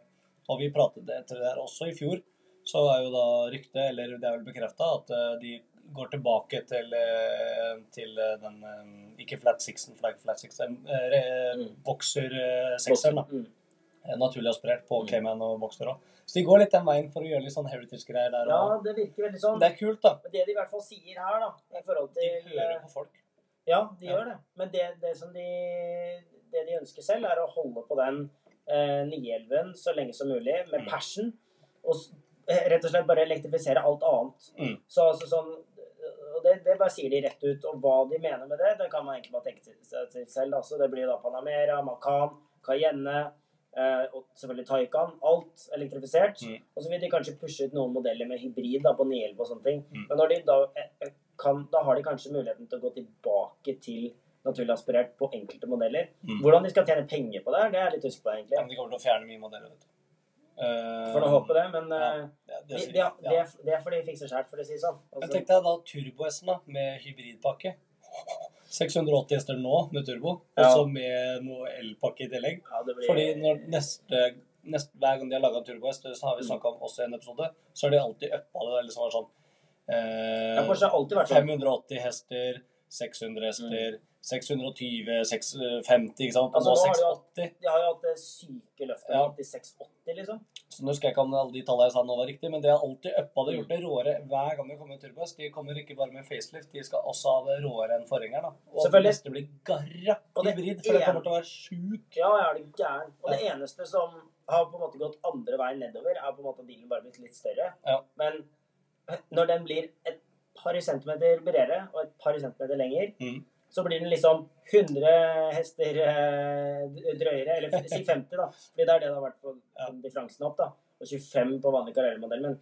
Og vi pratet etter det her også i fjor, så er jo da ryktet, eller det er vel bekrefta, at eh, de går tilbake til, eh, til eh, den eh, Ikke flat sixen, for det er ikke flat six, eh, re-
Mm.
Boxer-sekseren, da
Mm.
eh, naturlig aspirert på
Mm.
Cayman og Boxster òg. Så de går litt den veien for å gjøre litt sånn heritage-greier der.
Ja,
og-
det virker veldig sånn.
Det er kult, da.
Men Det de i hvert fall sier her, da, i forhold
De
til
hører
eh,
på folk.
Ja, de
Ja.
gjør det. Men det, det som de det de ønsker selv, er å holde på den eh, 911 så lenge som mulig, med
Mm.
passion. Og s- eh, rett og slett bare elektrifisere alt annet.
Mm.
Så altså sånn og det, det bare sier de rett ut. Og hva de mener med det, det kan man egentlig bare tenke til- seg til selv. Altså, det blir da Panamera, Macan, Cayenne eh, og selvfølgelig Taycan. Alt elektrifisert.
Mm.
Og så vil de kanskje pushe ut noen modeller med hybrid da, på 911 og sånne ting.
Mm.
Men når de da, eh, eh, kan, da har de kanskje muligheten til å gå tilbake til naturlig aspirert på enkelte modeller.
Mm.
Hvordan de skal tjene penger på det, her, det er jeg litt usikker på,
Ja, men
egentlig.
de kommer til å fjerne mye modeller, vet du. Eh,
Får nå håpe det, men
ja,
eh,
ja, det
de,
sier
de,
de.
det,
Ja.
er, det er fordi de fikser skjært, for å si det sånn.
Men
Altså,
tenk deg da turbo-S-en da, med hybridpakke. 680 hester nå med turbo, og
Ja.
så med noe elpakke i tillegg.
ja, det blir,
Fordi når neste, neste, hver gang de har laga turbo-S, det har vi snakka om også i en episode, så har de alltid uppa det. Eller så var det sånn eh,
ja, Porsche har alltid vært sånn.
580 hester, 600 hester, 620, 650, eh, ikke sant? Og
Altså,
nå
nå har de
680.
De har jo hatt det syke løftet
Ja.
opp til 680, liksom.
Så nå husker jeg ikke om alle de tallene jeg sa nå var riktig, men de har alltid uppa det, gjort det råere hver gang det kommer en turbohest. De kommer ikke bare med facelift, de skal også ha det råere enn forgjengeren. da. Og
Selvfølgelig.
neste blir garra
Og det
hybrid, for det
er-
kommer til å være sjukt.
Ja, jeg er det gæren. Og det eneste som har på en måte gått andre veien nedover, er på en måte at bilen bare blitt litt større.
Ja.
Men når den blir et par centimeter bredere og et par centimeter lenger,
Mm.
så blir den liksom 100 hester eh, drøyere, eller f- si 50 da, fordi det er det det har vært på
Ja.
på differansen opp da, og 25 på vanlig karrieremodell, men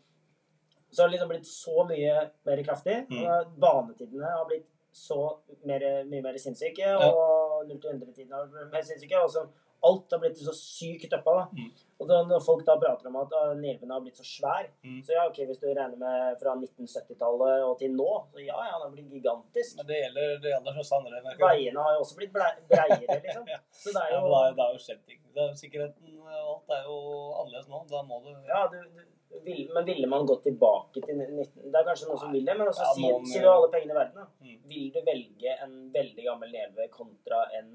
så har det liksom blitt så mye mer kraftig,
Mm.
og banetidene har blitt så mer, mye mer sinnssyke,
Ja.
og 0-100-tiden har blitt mer sinnssyke, og så alt har blitt så sykt oppa da.
Mm.
Og da, når folk da prater om at ah, nervene har blitt så svær,
Mm.
så ja, ok, hvis du regner med fra 1970-tallet og til nå, så ja, ja, det har blitt gigantisk.
Men det gjelder de aller fleste andre. merker jeg.
Veiene har jo også blitt blei- breiere, liksom. Så det
[laughs]
er
Ja,
jo
men det er- det er jo skjedd ting. Det er- Sikkerheten og alt er jo annerledes nå. Da må du
Ja, du, du, vil, men ville man gått tilbake til 19... Det er kanskje noen som vil det, men også
Ja, eh,
sier,
noen-
sier jo alle pengene i verden, da.
Mm.
Vil du velge en veldig gammel neve kontra en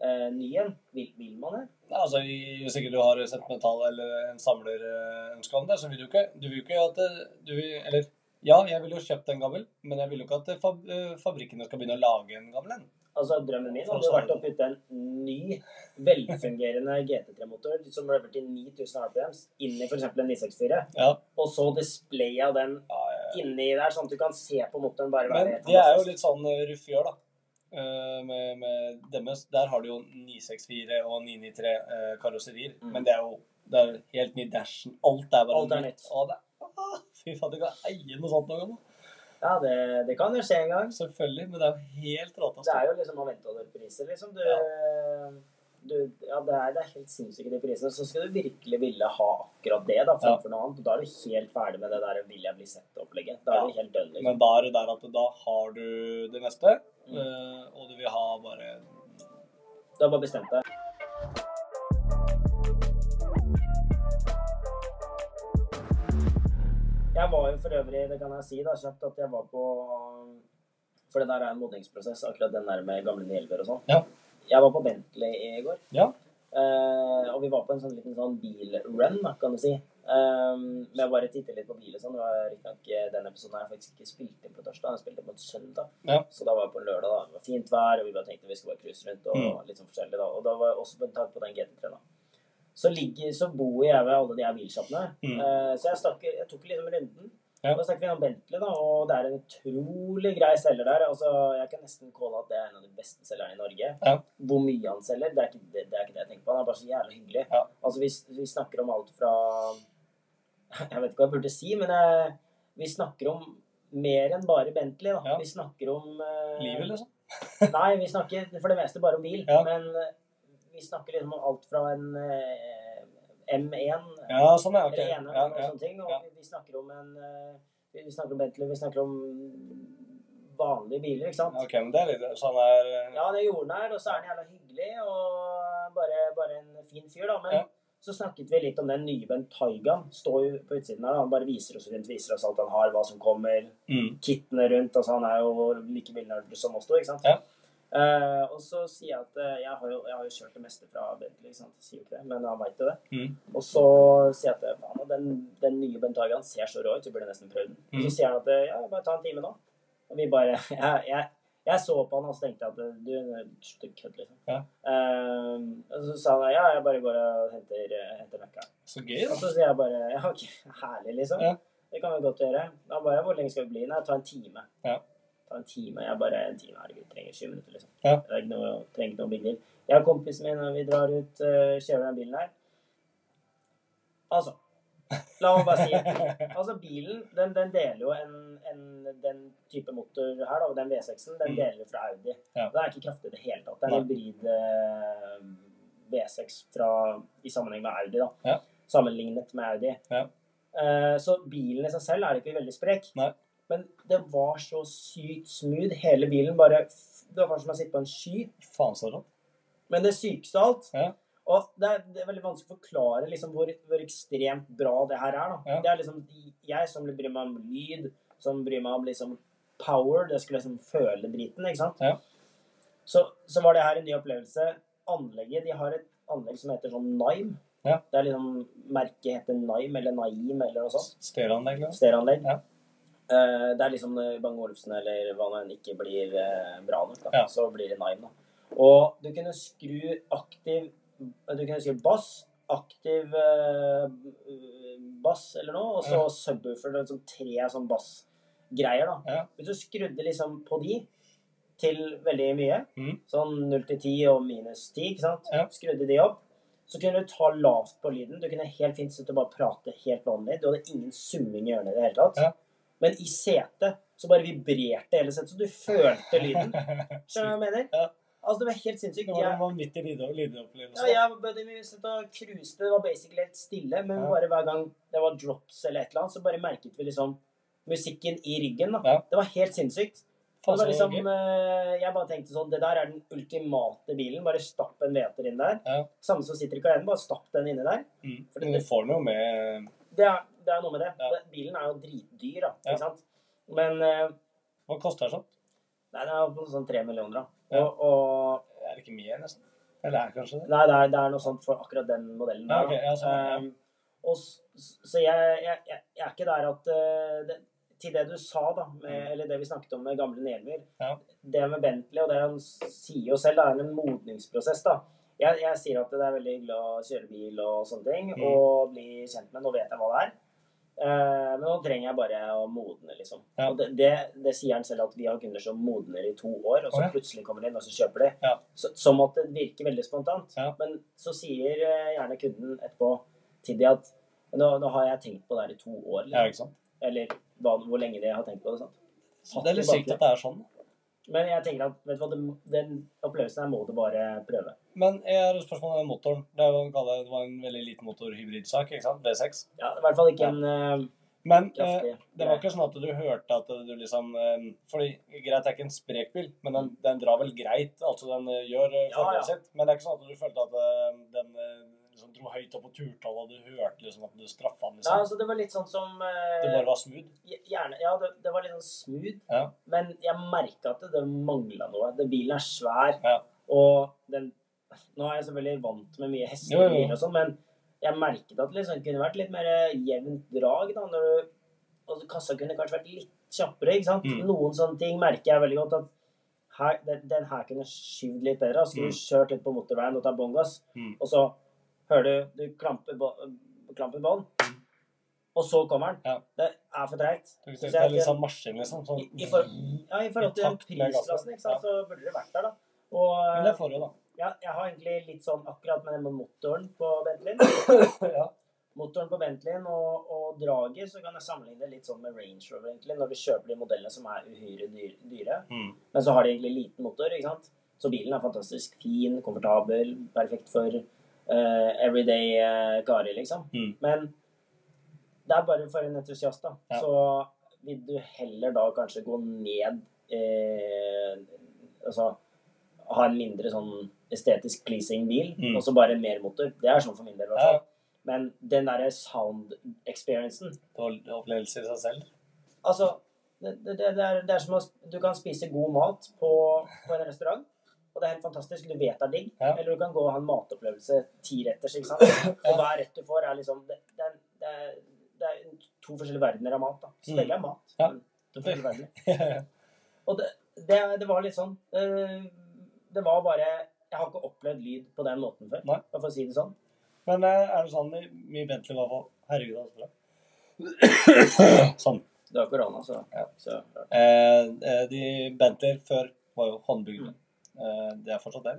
eh, ny en? Vil, vil man det?
Nei, altså, i- Hvis ikke du har sett metall eller en samler eh, ønske om det, så vil du ikke Du vil jo ikke at det- du vil, Eller ja, jeg ville jo kjøpt en gammel, men jeg vil jo ikke at eh, fab, eh, fabrikkene skal begynne å lage en gammel en.
Altså, Drømmen min hadde jo vært å putte en ny, velfungerende GT3-motor som lever til 9000 RPMs, inn i f.eks. en 964,
Ja,
og så displaye av den
ja, ja, ja.
inni der, sånn at du kan se på motoren bare være
Men
helt
det er jo
fantastisk.
litt sånn eh, ruff gjør, da. Eh, Med, med deres. Der har du jo 964 og 993 eh, karosserier.
Mm.
Men det er jo det er helt ny dashen. Alt er bare
Alt er nytt.
Og det, ah, fy faen, du kan eie noe sånt noen gang.
Ja, det, det kan jo skje en gang.
Selvfølgelig, men det er jo helt råtast.
Det er jo liksom å vente over priser, liksom. Du, du, ja, det, er, det er helt sinnssyke de prisene. Så skal du virkelig ville ha akkurat det da, framfor noe annet. Da er du helt ferdig med det der 'vil jeg bli sett'-opplegget. Da er du helt dønn. Liksom.
Men da er det der at da har du det meste,
Mm.
eh, og du vil ha bare
Du har bare bestemt deg. Jeg var jo for øvrig, det kan jeg si da, kjapt, at jeg var på For det der er en modningsprosess, akkurat den der med gamle hjelper og sånn.
Ja.
Jeg var på Bentley i går.
Ja.
Eh, og vi var på en sånn liten sånn bilrun, da, kan du si. Um, men jeg bare titte litt på bil og sånn. Det var riktignok eh, den episoden her jeg faktisk ikke spilte inn på torsdag. Jeg spilte inn på en søndag.
Ja.
Så da var jeg på en lørdag. da. Det var fint vær, og vi bare tenkte vi skulle bare cruise rundt. Og
Mm.
litt sånn forskjellig da. Og da var jeg også på en tanke på den GT3. da. Så, ligger, så bor jeg ved alle de her bilsjappene.
Mm.
Eh, så jeg, snakker, jeg tok liksom runden.
Ja.
Da snakker vi om Bentley, da, og det er en utrolig grei selger der. Altså, jeg kan nesten calle at det er en av de beste selgerne i Norge.
Ja.
Hvor mye han selger, det er, ikke, det, det er ikke det jeg tenker på. Han er bare så jævlig hyggelig.
Ja.
Altså, vi, vi snakker om alt fra Jeg vet ikke hva jeg burde si, men eh, vi snakker om mer enn bare Bentley. Da.
Ja.
Vi snakker om eh,
Livet, liksom.
[laughs] Nei, vi snakker for det meste bare om bil.
Ja.
Men eh, vi snakker liksom om alt fra en eh, M1
Ja, sånn er ok.
eller ene
Ja,
og
ja.
sånne ting. Og
ja.
vi snakker om en eh, Vi snakker om Bentley, vi snakker om vanlige biler, ikke sant?
Ok, men det er litt sånn her eh,
Ja, det er jordnær, og så er han jævla hyggelig og bare, bare en fin fyr, da. Men
Ja.
så snakket vi litt om den nye Bent Taigaen. Står jo på utsiden her, da. Han bare viser oss rundt, viser oss alt han har, hva som kommer
mm.
kittene rundt. Altså, han er jo like bilnerd som oss to, ikke sant?
Ja.
Eh, og så sier jeg at eh, jeg, har jo, jeg har jo kjørt det meste fra Bentley, ikke sant? Jeg sier jo ikke det, men han veit jo det.
Mm.
Og så sier jeg at faen, den, den nye Bent Hagen ser så rå ut, vi burde nesten prøvd den. Og
Mm.
Så sier han at ja, bare ta en time nå. Og vi bare Jeg, jeg, jeg så på han og så tenkte jeg at du slutt å kødde, liksom.
Ja.
Eh, og så sa han ja, jeg bare går og henter, henter nøkkelen.
Så gøy,
Og
da.
altså. så sier jeg bare ja, ok, herlig, liksom.
Ja.
Det kan vi godt gjøre. Han bare hvor lenge skal vi bli? Nei, ta en time.
Ja.
Ta en time. Jeg bare en time, herregud, trenger 20 minutter, liksom.
Ja.
Det er ikke noe, trenger ikke noe big deal. Jeg og kompisen min, når vi drar ut, eh, kjører den bilen her. Altså, la meg bare si
[laughs]
Altså, bilen, den, den deler jo en, en, den type motor her, da, og den V6-en, den
Mm.
deler fra Audi.
Ja.
Den er ikke kraftig i det hele tatt. Det er en hybrid eh, V6 fra, i sammenheng med Audi, da.
Ja.
Sammenlignet med Audi.
Ja.
Eh, så bilen i seg selv er ikke veldig sprek.
Nei.
Men det var så sykt smooth, hele bilen. Bare, f- det var som å sitte på en sky.
Faen så rått.
Men det sykeste av alt
Ja.
Og det er, det er veldig vanskelig å forklare liksom, hvor, hvor ekstremt bra det her er. Da.
Ja.
Det er liksom jeg som bryr meg om lyd, som bryr meg om liksom, power. Det skulle liksom føle driten, ikke sant?
Ja.
Så, så var det her en ny opplevelse. Anlegget, De har et anlegg som heter sånn Nime.
Ja.
Det er liksom Merket heter Nime eller Naim eller noe sånt.
Stereoanlegg, liksom.
Stereoanlegg.
Ja.
Eh, det er liksom når Bang Olufsen eller hva nå enn ikke blir eh, bra nok, da.
Ja.
Så blir det Nime, da. Og du kunne skru aktiv Du kunne skru bass, aktiv eh, bass eller noe, og så
Ja.
subwoofer. Det er liksom tre sånn bassgreier, da.
Ja.
Hvis du skrudde liksom på de til veldig mye,
Mhm.
sånn 0 til 10 og minus 10, ikke sant?
Ja.
Skrudde de opp, så kunne du ta lavt på lyden. Du kunne helt fint sitte og bare prate helt vanlig. Du hadde ingen summing i ørene i det hele tatt.
Ja.
Men i setet så bare vibrerte hele setet, så du følte lyden. Skjønner du hva jeg mener?
[laughs] Ja.
Altså, det var helt
[laughs]
sinnssykt.
Det var
Jeg-
en vanvittig lyde- lydopplevelse.
ja, jeg bare- vi satt og cruiset. Det var basically helt stille. Men
Ja.
bare hver gang det var drops eller et eller annet, så bare merket vi liksom musikken i ryggen. da.
Ja.
Det var helt sinnssykt. Det
Faen,
var
så
liksom,
gøy.
eh, jeg bare tenkte sånn, det der er den ultimate bilen. Bare stapp en meter inn der.
Ja.
Samme som sitter i Cayenne, bare stapp den inni der.
Mm.
for det-
Men du får noe med
Det er, det er noe med det.
Ja.
Det- Bilen er jo dritdyr, da.
Ja.
Ikke sant? Men eh,
Hva koster det sånn?
nei, den er jo på sånn tre millioner, da.
Ja.
Og, og
Er det ikke mye, nesten? Eller er det kanskje det?
Nei, det er, det er noe sånt for akkurat den modellen.
Ja,
der,
ok,
da.
ja, sånn, ja.
Um, og, s- s- så jeg, jeg, jeg, jeg er ikke der at eh, det, Til det du sa, da, med,
Mm.
eller det vi snakket om med gamle Nelmyr
Ja.
Det med Bentley og det han s- sier jo selv, det er en modningsprosess. da. Jeg, jeg sier at det er veldig hyggelig å kjøre bil og sånne ting,
Mm.
og bli kjent med Nå vet jeg hva det er. Eh, men nå trenger jeg bare å modne, liksom.
Ja.
Og det, det, det sier han selv at vi har kunder som modner i to år, og så
Å, ja.
plutselig kommer de inn, og så kjøper de.
Ja.
Så, som at det virker veldig spontant.
Ja.
Men så sier eh, gjerne kunden etterpå til de at nå, nå har jeg tenkt på det her i to år,
Ja,
liksom.
ikke sant?
eller hva, hvor lenge de har tenkt på det. sånn. sant?
Så det er litt sykt at det er sånn.
Men jeg tenker at vet du hva, den, den opplevelsen her må du bare prøve.
Men jeg har et spørsmål om den motoren. Det er jo en, kaller- det var en veldig liten motorhybridsak, ikke sant? V6.
Ja, I hvert fall
Ja.
ikke en eh,
Men eh,
kraftig
det var ikke sånn at du hørte at du liksom eh, Fordi greit, det er ikke en sprek bil, men den, den drar vel greit. Altså, den eh, gjør eh,
Ja,
formålet
ja.
sitt. Men det er ikke sånn at du følte at eh, den eh, liksom dro høyt opp på turtallet, og du hørte liksom at du straffa den,
Nei,
liksom.
altså, Det var litt sånn som eh,
Det bare var smooth.
gjerne, Ja, det, det var litt sånn smooth.
Ja.
Men jeg merka at det mangla noe. Den bilen er svær.
Ja.
Og den Nå er jeg selvfølgelig vant med mye hester
Jo,
og
jo.
biler og sånn, men jeg merket at det liksom kunne vært litt mer jevnt drag. da, når du, og Kassa kunne kanskje vært litt kjappere. ikke sant?
Mm.
Noen sånne ting merker jeg veldig godt. at her, den, den her kunne skyvd litt bedre. og Skulle
Mm.
kjørt ut på motorveien og ta bånn gass,
Mm.
og så hører du du klamper, bå- klamper bånd, og så kommer den.
Mm. Ja.
Det er for treigt.
Du ser,
Så
det er
jeg-
litt sånn maskin, liksom. Sånn,
I, i, for, ja, I forhold til den
I takt med
prisklassen, ikke sant,
gassen, ja.
så burde det vært der, da. Og
Men det får du,
[laughs]
da.
ja, jeg har egentlig litt sånn akkurat med den med motoren på Bentleyen.
ja.
Motoren på Bentleyen og, og draget, så kan jeg sammenligne det litt sånn med Range Rover, egentlig, når du kjøper de modellene som er uhyre dyr- dyre.
Mm.
Men så har de egentlig liten motor, ikke sant? Så bilen er fantastisk fin, komfortabel, perfekt for eh, everyday eh, karer, liksom.
Mm.
Men det er bare for en entusiast, da.
Ja.
Så vil du heller da kanskje gå ned eh, Altså ha en mindre sånn estetisk pleasing bil,
Mm.
og så bare mer motor. Det er sånn for min del, i hvert
Ja.
fall. Men den derre sound experiencen
Det var en opplevelse i seg selv. [laughs]
Altså, det, det, det, er, det er som å sp- Du kan spise god mat på, på en restaurant, og det er helt fantastisk. Du vet det er digg.
Ja.
Eller du kan gå og ha en matopplevelse ti retters, ikke sant. Og hver rett du får, er liksom Det, det, er, det, er, det er to forskjellige verdener av mat, da. Så begge er mat.
Mm. Ja.
men To forskjellige verdener.
ja.
Og det, det, det var litt sånn eh, Det var bare Jeg har ikke opplevd lyd på den måten før,
Nei.
bare for å si det sånn.
Men eh, er det sånn i mye Bentley var på Herregud, det er så
[coughs]
bra. sånn.
Det var korona, så,
Ja.
så klart.
Eh, eh, de Bentleyer før var jo håndbygde. Eh, det er fortsatt det.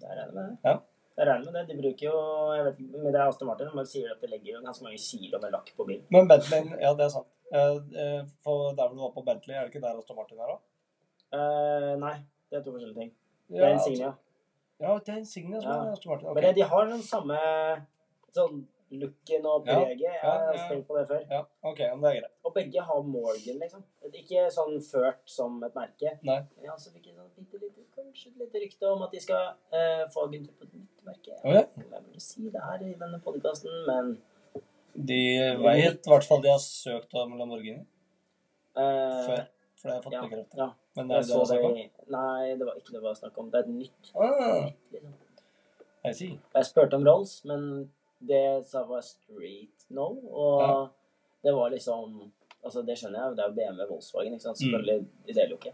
Jeg regner med det.
Ja.
Jeg regner med det. De bruker jo jeg vet, ikke, Men det er Aston Martin, men de sier at de legger jo ganske mange kilo med lakk på bilen.
Men Bentleyen, ja, det er sant. Eh, eh, for der hvor du var på Bentley, er det ikke der Aston Martin er òg?
Eh, nei, det er to forskjellige ting. Det
Ja,
er Insignia.
Ja, det er Insignia som
Ja.
er Aston Martin. ok.
Men det, de har den samme sånn looken og
Ja,
preget. Jeg
ja,
har
ja.
tenkt på det før.
Ja, OK, men det er greit.
Og begge har Morgan, liksom. Ikke sånn ført som et merke.
Nei.
Ja, så fikk jeg sånn bitte lite, kanskje et lite rykte om at de skal eh, få Gunther på et nytt merke.
Å, ja.
Jeg vet ikke om jeg burde si det her i denne podkasten, men
De vet i hvert fall de har søkt om Lamborghini
eh,
før. For det har jeg fått
ja,
bekreftet.
ja.
Men det
Jeg
er det
så
jeg
det
snakker om.
i Nei, det var ikke det det var snakk om. Det er et nytt.
Ah,
Liksom.
I see.
Jeg spurte om Rolls, men det sa var straight no. Og
Ja.
det var liksom Altså, det skjønner jeg, det er jo BMW Volkswagen, ikke sant.
Mm.
Selvfølgelig, de deler jo ikke.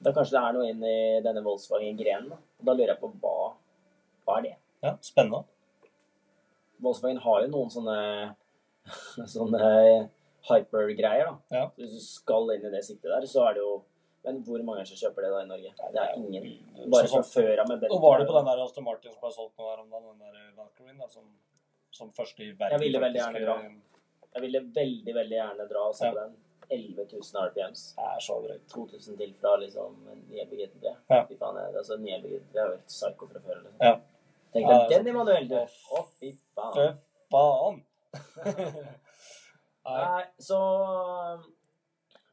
Da kanskje det er noe inn i denne Volkswagen-grenen. Da. da lurer jeg på hva, hva er det?
Ja, spennende.
Volkswagen har jo noen sånne [laughs] sånne hyper-greier, da.
Ja.
Hvis du skal inn i det siktet der, så er det jo Men hvor mange er det som kjøper det da i Norge? Det er ingen. Bare
Så-
fra før av med Bentley.
Og var det på den der Aston Martin som ble solgt nå her om dagen, den der Valkyrien, da, som, som første i verden
Jeg ville veldig
faktisk,
gjerne dra.
eh,
Jeg ville veldig, veldig gjerne dra og se
Ja.
på den. 11 000 RPMs.
er så drøyt.
2000 til fra liksom nye BGT3.
Ja.
Fy faen, det er- altså nye BGT3 er jo helt psyko fra før. Liksom.
Ja.
Tenk
Ja,
deg
det er
den i manuell, du!
Å,
Å, fy faen.
Fy faen! [laughs] Nei,
Nei, så um,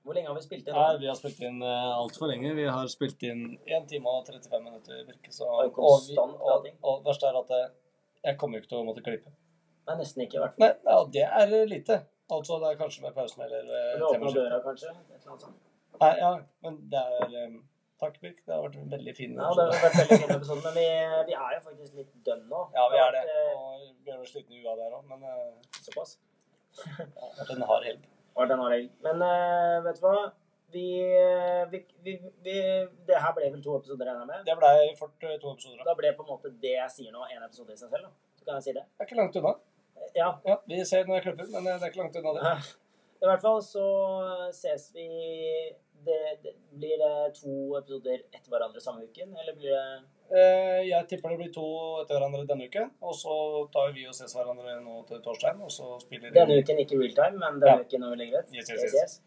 Hvor lenge har vi spilt inn?
nei, vi har spilt inn eh, altfor lenge. Vi har spilt inn 1 time og 35 minutter, virker så Og,
Oi,
vi,
konstant
og,
prating.
og verst er at eh, jeg kommer jo ikke til å måtte klippe.
Nei, nesten ikke, i hvert fall.
Nei, ja, det er eh, lite. Altså, det er kanskje med pausen eller eh,
Vi åpner
temaskiftet.
døra, kanskje. Et eller annet sånt.
Nei, ja, men det er eh, Takk, Birk. Det har vært en veldig fin
Ja, det har vært veldig fin episode, men vi, vi er jo faktisk litt dønn nå.
[laughs] Ja, vi er det.
har vært,
Og vi begynner å slitne i ua der òg, men eh,
eh, Såpass.
det har vært en hard helg.
Var den hard helg. Men eh, vet du hva? Vi, eh, vi, vi, vi Det her ble vel to episoder, regner jeg med.
Det blei fort eh, to episoder. da.
Da ble på en måte det jeg sier nå, en episode i seg selv. da. Så kan jeg si det. Eh,
Det er ikke langt unna.
Ja. [laughs]
Ja, Vi ser når jeg klipper, men eh, det er ikke langt unna det.
I hvert fall så ses vi det, det, Blir det to episoder etter hverandre samme uken, eller blir det
Eh, Jeg tipper det blir to etter hverandre denne uken. Og så tar vi og ses hverandre nå til torsdag, og så spiller
Denne
vi
uken ikke real time, men
Ja.
denne uken når vi legger ut.
Yes, yes, yes.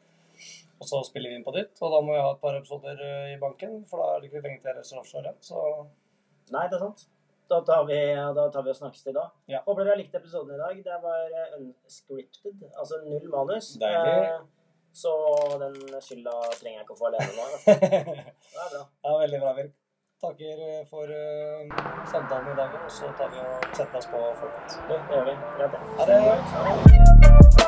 Og så spiller vi inn på ditt, og da må jeg ha et par episoder eh, i banken. For da er det ikke lenge til jeg offshore igjen. Så [laughs]
Nei, det er sant. Da tar vi, da tar vi og snakkes til da.
Ja.
Håper dere har likt episoden i dag. Det var eh, unscripted, altså null manus.
Deilig.
Eh, Så den skylda trenger jeg ikke å få alene nå.
[laughs] det
da. Det er bra.
er veldig bra, Birk. Takker eh, for eh, samtalen i dag, og så tar vi og setter oss på forkant.
Det gjør vi. Greit, det.
Ha det.
Ha det.